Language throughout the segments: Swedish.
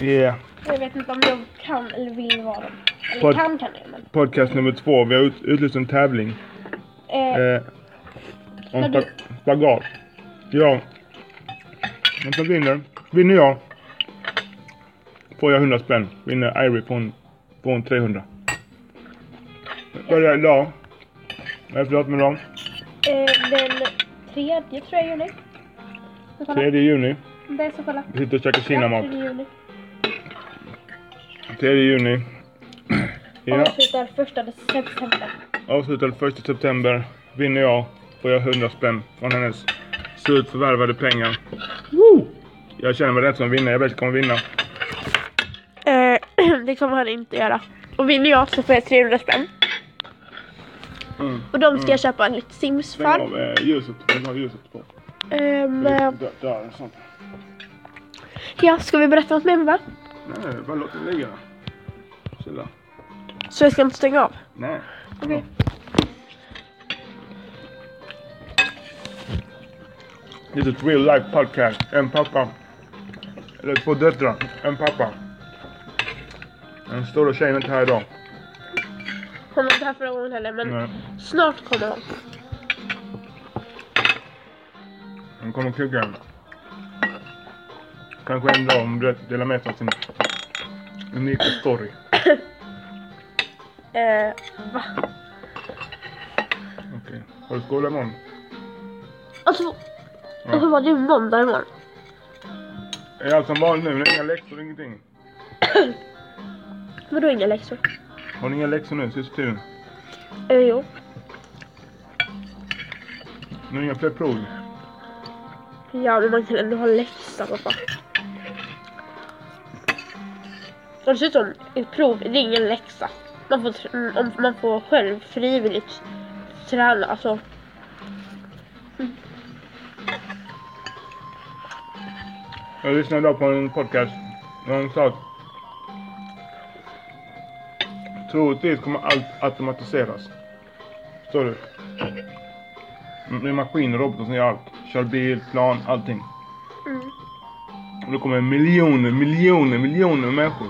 Yeah. Jag vet inte om jag kan eller vill vara dem. Eller Pod- kan kan jag men. Podcast nummer två. Vi har ut, utlyst en tävling. Eh, Eh, om Har du- spa- spagat. Ja. Men så vinner. Vinner jag. Får jag 100 spänn. Vinner Irie på en, på en 300. Börjar idag. Vad är det för datum idag? eh, den tredje tror jag juni. Ska kolla. 3 juni. Det är så kolla. Vi sitter och käkar Ja, kinamat. tredje juni. 3 juni. Ja. Avslutar första december. Avslutad 1 september. Vinner jag. Får jag 100 spänn från hennes surt förvärvade pengar. Woo! Jag känner mig rätt som vinnare. Jag vet att jag kommer vinna. Eh, det kommer han inte göra. Och vinner jag så får jag 300 spänn. Mm. Och de ska jag köpa en liten Stäng Sims-farm. av Mm. eh, ljuset. Jag vill ha ljuset på. Ehm, eh, Där, där, sånt. ja, ska vi berätta något mer va? Nej, bara låt den ligga. Chilla. Så jag ska inte stänga av? Nej. Okej. This is real life podcast. En pappa. Eller två döttrar. En pappa. Den stora tjejen är inte här idag. Hon var inte här förra gången heller men Nej. snart kommer hon. Den kommer kugga en. Kanske en dag om du delar med sig av sin unika story. Eh, va? Okej. Har du skola imorgon? Alltså, Ja. och så var det ju måndag imorgon. Är allt som vanligt nu? Inga läxor, ingenting? Vadå inga läxor? Har ni inga läxor nu sista tiden? Eh, jo. Nu är inga fler prov. Ja men man kan ändå ha läxa pappa. Och dessutom, ett prov det är ingen läxa. Man får, tr- mm, om man får själv frivilligt träna, alltså. Jag lyssnade idag på en podcast. Där de sa att troligtvis kommer allt automatiseras. Förstår du? Mm, Det är maskiner och robotar som gör allt. Kör bil, plan, allting. Mm. Och då kommer miljoner, miljoner, miljoner människor.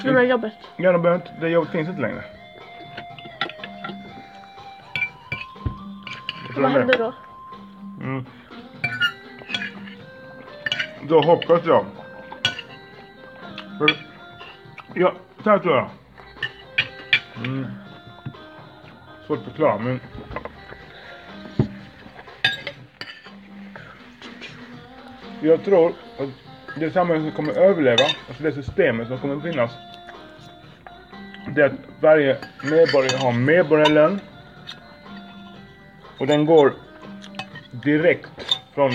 Förlora Mm. jobbet. Ja, de behöver inte, det jobbet finns inte längre. Jag tror Vad det. händer då? Mm. Då hoppas jag. För- Ja, så här tror jag. Mm. Svårt att förklara men. Jag tror att det samhälle som kommer överleva, alltså det systemet som kommer finnas. Det är att varje medborgare har medborgarlön. Och den går direkt från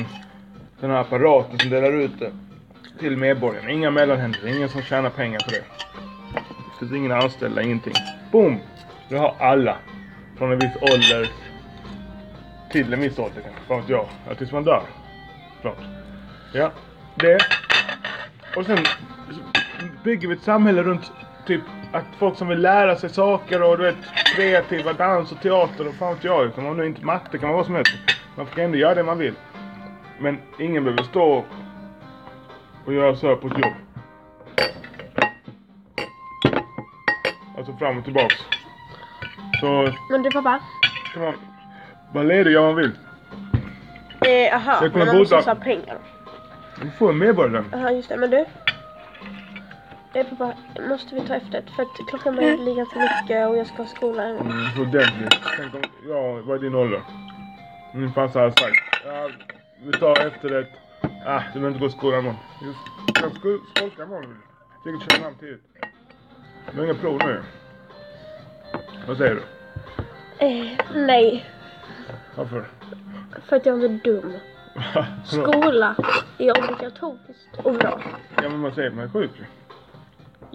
den här apparaten som delar ut det till medborgarna. Inga mellanhänder, ingen som tjänar pengar på det. Det finns ingen anställda, ingenting. Boom! Det har alla. Från en viss ålder till en viss ålder kanske, fan vet jag. Ja, tills man dör. Klart. Ja, det. Och sen bygger vi ett samhälle runt typ att folk som vill lära sig saker och du vet kreativa dans och teater och fan vet jag. Kan man nu inte matte kan man vad som helst. Man får ändå göra det man vill. Men ingen behöver stå och göra så här på ett jobb. Alltså fram och tillbaks. Så Men du pappa? kan man vara ledig och göra vad man vill. Eh, aha, Jag kommer men man måste bo också där. ha pengar. Du får en medborgarlön. Jaha, just det. Men du? Eh, pappa, måste vi ta efter? För att klockan börjar bli ganska mycket och jag ska ha skolan. Mm, så ordentligt. Tänk om, ja, vad är din ålder? Min farsa hade sagt. Ja, vi tar efterrätt. Ah, du behöver inte gå i skolan imorgon. Just, jag ska skolka imorgon. Tänk att köra namn tidigt. Du har inga prov nu. Vad säger du? Eh, nej, Varför? för att jag är inte dum. Skola är obligatoriskt och bra. ja men man säger man är sjuk ju.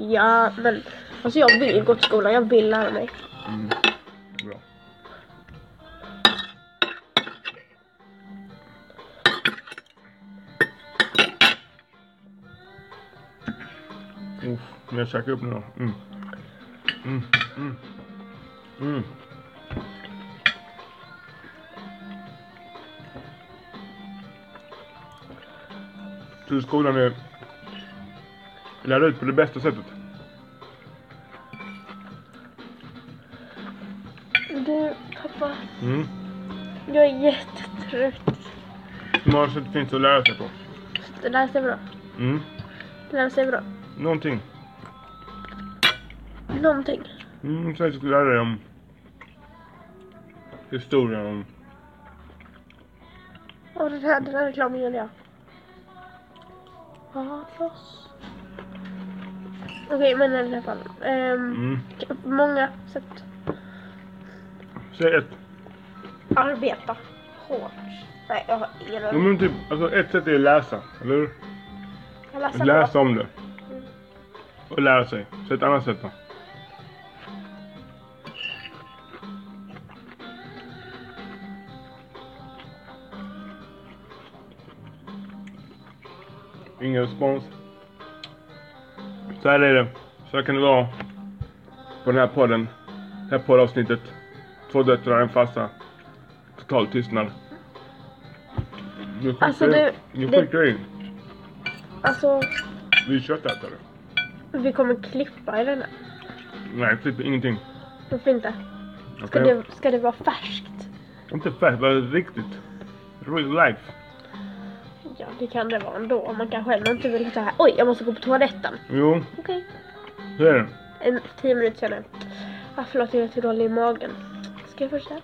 Ja, men alltså jag vill gå till skolan. Jag vill lära mig. Mm. Bra. Uff, men jag käkar upp nu då. Mm. Mm, mm. Mm. Så skolan är lära ut på det bästa sättet. Du, pappa. Mm. Jag är jättetrött. Imorgon så finns det att lära sig på. Det lär sig bra. Mm. Det lär sig bra. Någonting. Någonting. Mm, så jag skulle lära dig om historien om... Och den här, den här reklamen gillar jag. Patos. Okej, men i alla fall. ehm, Mm. k- Många sätt. Säg ett. Arbeta hårt. Nej, jag har ingen Ja, aning. men typ, alltså ett sätt är att läsa, eller hur? Jag läser Att bra. läsa om det. Och lära sig. Så ett annat sätt då. Ingen respons. Så här är det. Så här kan det vara. På den här podden. Det här poddavsnittet. Två döttrar och en farsa. Total tystnad. Nu skjuter Alltså, jag du- in. Nu det- skjuter jag in. Alltså, Vi är köttätare. vi kommer klippa i den här. Nej, typ ingenting. Varför inte? Ska, Okej. det, ska det vara färskt? Inte fett, men riktigt. Real life. Ja, det kan det vara ändå. Om man kanske ändå inte vill så här. Oj, jag måste gå på toaletten. Jo, Okej. så är det. En tio minuter senare. Ah, förlåt, jag är så dålig i magen. Ska jag fortsätta?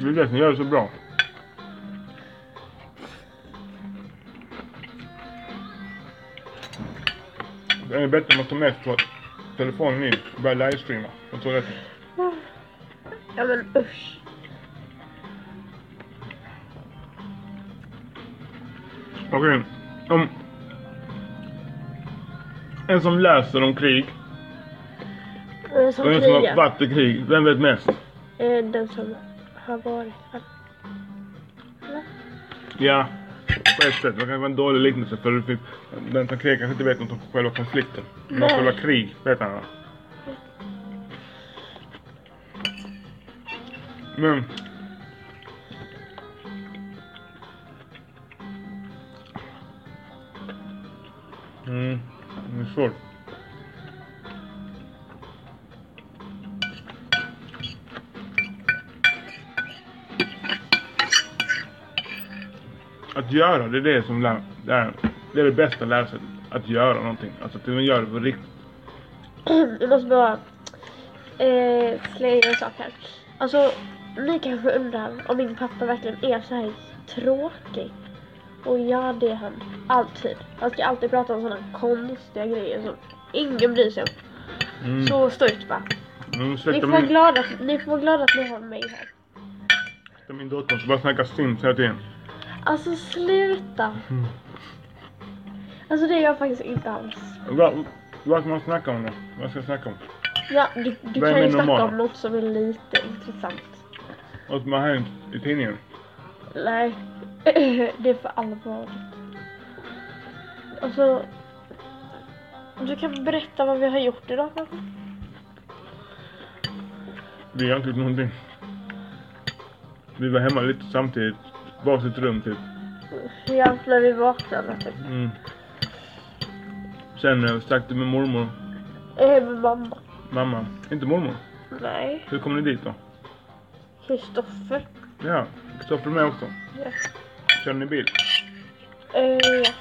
Det är det som gör det så bra. Det är bättre om man tar med på telefonen in och börjar livestreama på toaletten. Ja men usch. Okej, om... En som läser om krig Eh, Som och en som har krigar. varit i krig, vem vet mest? Eh, Den som har varit. här. Ja, på ett sätt. Det kan vara en dålig liknelse för det finns- den som krigar kanske inte vet något om själva konflikten. Men om Nej. själva krig vet han. Men... Mm, det är svårt. Att göra, det är det som lär, det är, det är det bästa lärsättet. Att göra någonting. Alltså att man gör det på riktigt. Jag måste bara eh, slänga in en sak här. Alltså, ni kanske undrar om min pappa verkligen är så här tråkig. Och ja, det är han. Alltid. Han ska alltid prata om sådana konstiga grejer som ingen bryr sig om. Mm. Så stolt va? Mm, Ni ursäkta får, vara min, glada, ni får vara glada att ni har mig här. ursäkta min dotter som bara snackar sims hela tiden. Alltså sluta! Mm. Alltså det gör jag faktiskt inte alls. Vad vad ska man snacka om då? Vad ska jag snacka om? Ja, du du Vem kan är ju snacka normal? om något som är lite intressant. Vad som har hänt i tidningen? Nej, det är för allvarligt. Alltså, du kan berätta vad vi har gjort idag kanske? Vi har inte gjort någonting. Vi var hemma lite samtidigt. Varsitt rum typ. Ja, när vi vaknade typ. Mm. Sen eh, snackade med mormor. Eh, Med mamma. Mamma. Inte mormor. Nej, Hur kom ni dit då? Kristoffer. Ja, Kristoffer är med också. Ja. Körde ni bil? Eh, ja.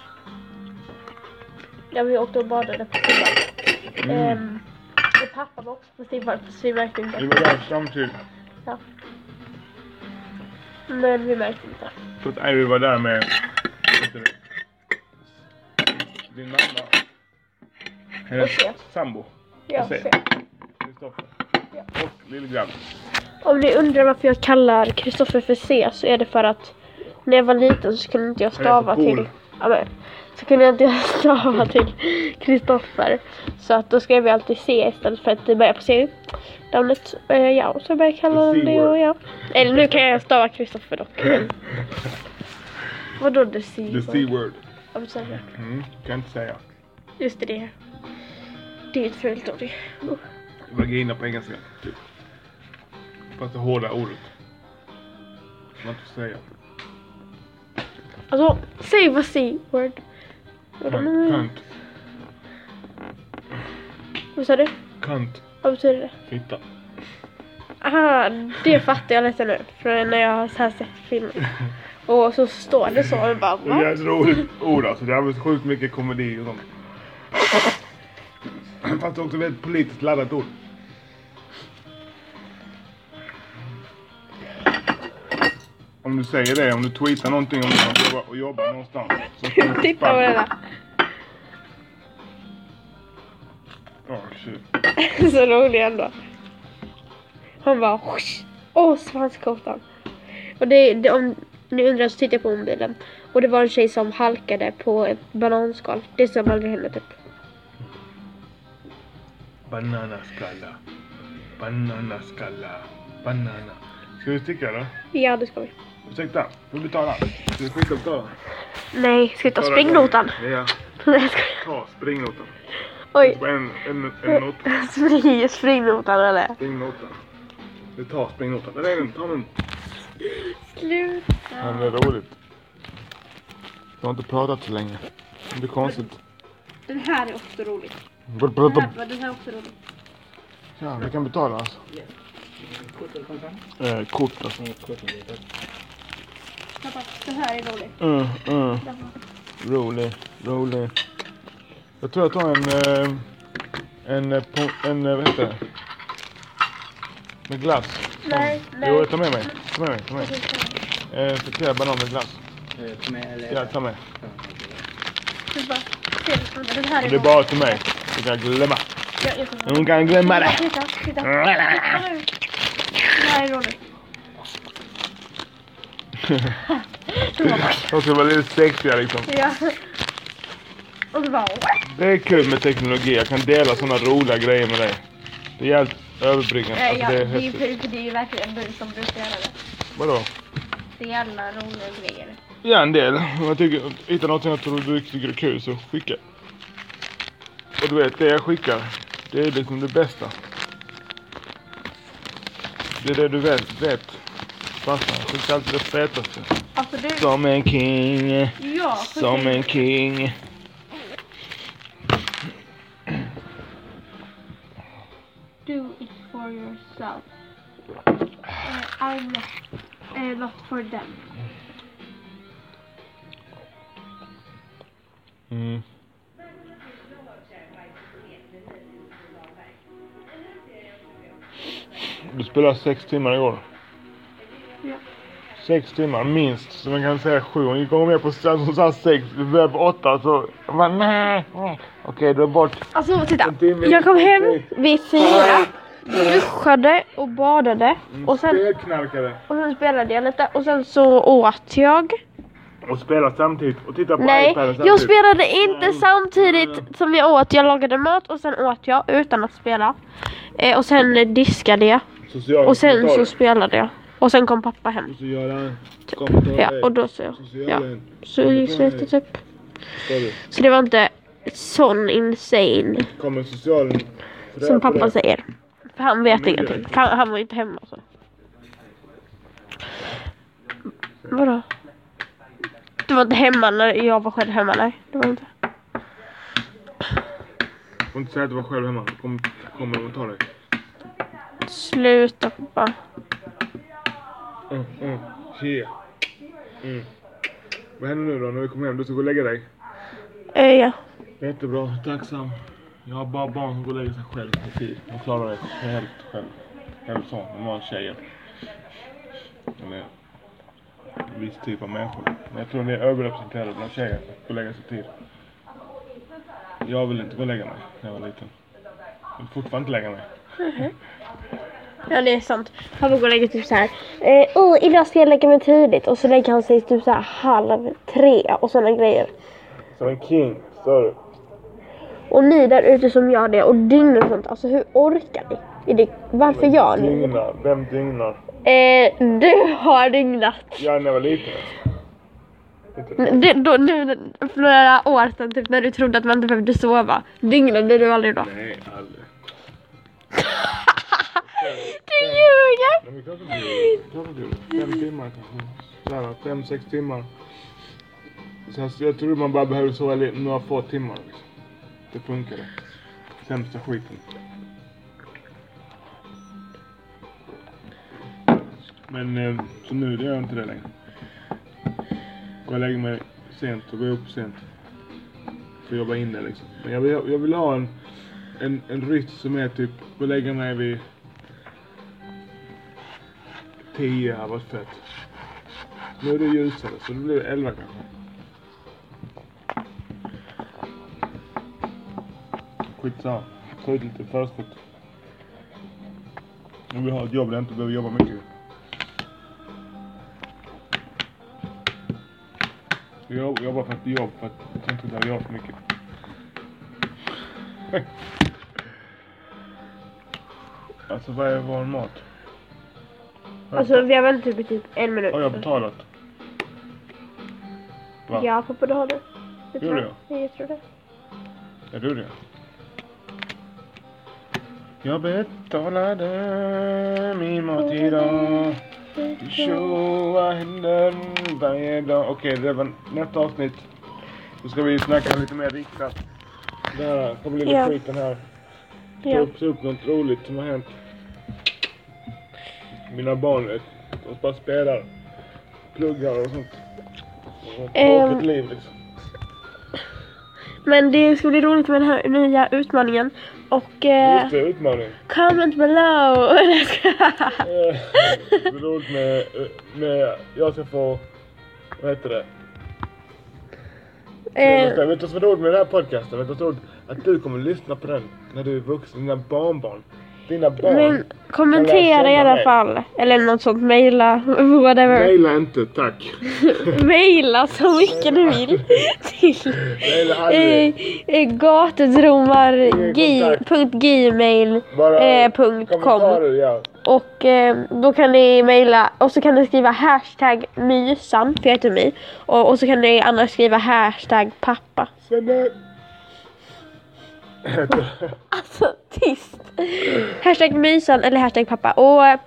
ja, vi åkte och badade på Stigvall. Mm. Ehm, och pappa var också på Stigvall, så vi märkte Vi inte. var där samtidigt. Men vi märkte inte. Så att Ivy var där med... vad heter det? Din mamma. Hennes Och chef. sambo. Ja, ser. så. Kristoffer. Ja. Och lillgrabb. Om ni undrar varför jag kallar Kristoffer för C så är det för att när jag var liten så kunde inte jag Han är så stava cool. till... Ja, men, så kunde jag inte stava till Kristoffer. Så att då skrev jag alltid C istället för att det börjar på C. Namnet, eh, ja, och så började jag kalla The honom det C-word. och ja. Eller nu kan jag stava Kristoffer dock. Vadå the The C? C-word. Ja, men så- Mm, kan inte säga. Just det. Det är ett fult ord. Vagina på engelska. Typ. Fast det hårda ordet. Som man inte får säga. Alltså, säg vad C-word. Tant. tant. Vad sa du? Kant. Vad betyder det? Fitta. Aha, det fattar jag lite nu. Från när jag har så här sett filmen. Och så står det så och jag bara Det är va? jävligt roligt ord alltså. Det används sjukt mycket komedi och sånt. Fast det är också väldigt politiskt laddat ord. Om du säger det, om du tweetar någonting om att jobba, och jobbar någonstans. Så får du Titta på det där. Ja, Oh, shit. så rolig ändå. Han bara "Whoosh!" Åh, svanskotan. Och det, det, om ni undrar så tittar jag på mobilen. Och det var en tjej som halkade på ett bananskal. Det som aldrig hände typ. Bananaskalla. Bananaskalla. Banana. Ska vi sticka eller? Ja, det ska vi. Ursäkta, får du betala? Ska vi skicka och betala? Nej, ska vi ta springnotan? Ja, Nej, jag skojar. ta springnotan. Oj. På en, en, en nota. Spring, springnotan eller? Springnotan. Vi tar springnotan. Där är den, ta den. Slut. Ja, det är roligt. Du har inte pratat så länge. Det blir konstigt. Den här är också rolig. Brr, brr, brr. den här är också rolig. Ja, vi kan betala alltså. Eh, kort alltså. Pappa, den här är rolig. Uh, uh. Rolig, rolig. Jag tror jag tar en... eh, En... eh, po- En... eh, Vad heter det? Med glass. Nej, Jo, jag tar med mig. Ta med mig, ta med mig. Eh, Friterad banan med glass. Eh, med- eller- Ja, ta med. Den här Det är bara Mm. till mig. Du kan glömma. Du kan glömma det. Titta, titta. Mm. Det här är roligt. De ska vara lite sexiga liksom. Ja. Och så bara... Det är kul med teknologi. Jag kan dela sådana roliga grejer med dig. Det är helt överbryggande. Nej, Alltså, ja, det är det, är ju, häftigt. för det är ju verkligen du som brukar göra det. Vadå? Det är alla roliga grejer. Ja, en del. Om jag tycker, hittar något som jag tror du tycker är kul så skicka. Och du vet, det jag skickar, det är liksom det bästa. Det är det du vet. vet. Farsan skickar alltid det fetaste. Alltså du... Som en king, Ja, skicka som in. en king. Do it for yourself. Eh, I'm not, eh, not for them. Mm. Du spelade sex timmar igår. Ja. Sex timmar minst, så man kan säga sju. Hon gick gånger med på hon sa sex, vi började på åtta så... Jag bara nej, nej. Okej, då bort. Alltså titta, En timme. jag kom hem vid fyra, duschade och badade och sen, Spelknarkare. och sen spelade jag lite och sen så åt jag. Och spela samtidigt och titta på Nej, iPaden samtidigt. jag spelade inte Nej. samtidigt som jag åt. Jag lagade mat och sen åt jag utan att spela. Eh, och sen eh, diskade jag Sociala och sen så kommentarer. spelade jag. Och sen kom pappa hem. Sociala Ja, kommentarer. och då så, ja. Sociala- Så det gick lite typ. Sorry. Så det var inte sån insane Kommer socialen... som säger. pappa säger. För han vet Men det- ingenting. För Han, han var ju inte hemma så. Vadå? Du var inte hemma när jag var själv hemma? Nej, det var du inte. Får inte säga att du var själv hemma. Kom- Kommer de att ta dig. Sluta pappa. Mm, mm. Yeah. Mm. Vad händer nu då när vi kommer hem? Du ska gå och lägga dig? Eh, ja. Jättebra, tacksam. Jag har bara barn som går och lägger sig själv på tid. De klarar det helt själv. Helt så, de har tjejer. Eller en viss typ av människor. Men jag tror ni är överrepresenterade bland tjejer som går och lägger sig tid. Jag vill inte gå och lägga mig när jag var liten. Jag vill fortfarande inte lägga mig. Ja det är sant. Pappa går och lägger typ så här. Eh, oh, idag ska jag lägga mig tidigt. Och så lägger han sig typ så här halv tre och sådana grejer. Som en king, stör du? Och ni där ute som gör det och dygnar och sånt. Alltså hur orkar ni? Är det, varför gör ni? Dygnar. Vem dygnar? Eh, du har dygnat. Jag när jag var liten. Inte. Mm, Det, då, nu för några år sedan typ när du trodde att man inte behövde sova. Dygnade du aldrig då? Nej, aldrig. Du ljuger! Nej, men klart att du klart att du gjorde. Fem timmar kanske. Sådär, fem, sex timmar. Sen, så jag tror man bara behöver sova li- några få timmar. Liksom. Det funkar. sämsta skiten. Men eh, så nu gör jag inte det längre. Och jag lägger mig sent och går upp sent. För att jobba in det liksom. Men jag vill, jag vill ha en, en, en rytm som är typ, gå och lägga mig vid 10 hade varit fett. Nu är det ljusare så det blir 11 kanske. Skitsamma. Ta ut lite förskott. Jag vill ha ett jobb där jag inte behöver jobba mycket. Jag jobbar för ett jobb för att jag inte behöver jobba för mycket. alltså vad är vår mat? Alltså vi har väntat i typ en minut. Har jag betalat? Va? Ja, pappa det har du. Det Gjorde tror jag. Jag tror det. Är du det? Jag betalade min mat idag. Tjoa händer varje dag. Okej, det var nästa avsnitt. Då ska vi snacka lite mer riktat. Där kommer lilla Ja. skiten här. Ta Ja. upp, ta upp något roligt som har hänt. Mina barn, eh, de bara spelar. Pluggar och sånt. Och Ehm. Tråkigt liv liksom. Men det ska bli roligt med den här nya utmaningen. Och eh, Just det, utmaning. comment below! Eh, Det är roligt med, eh, med... Jag ska få... Vad heter det? eh, Vet du vad som är roligt med den här podcasten? Vet du vad som är roligt? Att du kommer lyssna på den när du är vuxen. Dina barnbarn. Dina barn. men Kan kommentera jag i alla känna fall. Eller något sånt. Maila. Whatever. Maila inte, tack. Maila så mycket du vill. Till Maila eh, aldrig. eh, gatudromargi.gmail.com Bara eh, punkt com. kommentarer, ja. Och eh, då kan ni mejla och så kan ni skriva hashtag mysan, för jag heter My. Och, och så kan ni annars skriva hashtag pappa. Svenne. Alltså tyst! Hashtag mysan eller hashtag pappa. Och eh,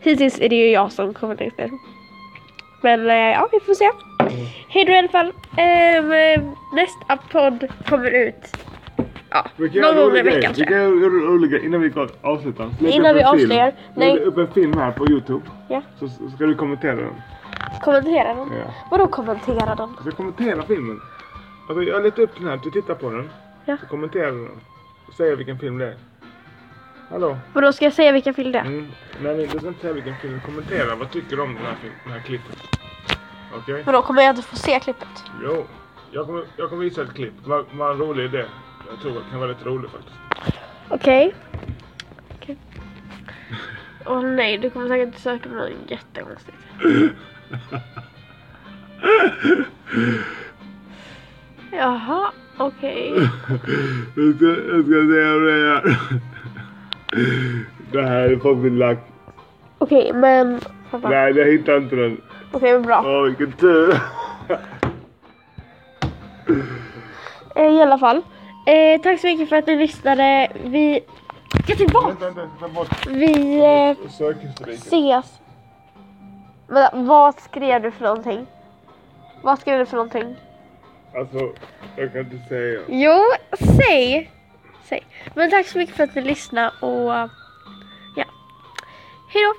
hittills är det ju jag som kommer längst ner. Men eh, ja, vi får se. Hej då i alla fall. Ehm, eh, nästa podd kommer ut ja, Vilken någon gång i rolig grej. veckan tror Vilken jag. rolig grej. Innan vi avslutar. Släng Innan upp vi en film. avslöjar. Lägg Nej, upp en film här på Youtube. Ja. Så så ska du kommentera den. kommentera den. Ja. Vadå kommentera den? Jag ska kommentera filmen. Alltså jag letar upp den här, du tittar på den. Ja. Så kommenterar du den. Och säger vilken film det är. Hallå? Vadå ska jag säga vilken film det är? Mm. Nej, nej, du ska inte säga vilken film. Kommentera, vad tycker du om den här, film, den här klippet? Okej? Vadå kommer jag inte få se klippet? Jo. Jag kommer, jag kommer visa ett klipp. Vad vad en rolig idé. Jag tror det kan vara lite roligt faktiskt. Okej. Okej. Åh nej, du kommer säkert söka på något jättekonstigt. Jaha, okej. Jag ska, jag ska säga det här. Det här är fucking lack. Okej, men... pappa. Nej, Okej, jag hittar inte den. men bra. Åh, vilken tur. Eh, I alla fall. Eh, tack så mycket för att ni lyssnade. Vi... Ska Vänta, tillbaka! vänta, ta bort Vi eh, sökhistoriken. ses. Vänta, vad skrev du för någonting? Vad skrev du för någonting? Alltså, jag kan inte säga. Jo, säg. säg. Men tack så mycket för att ni lyssnade och ja. Hej då.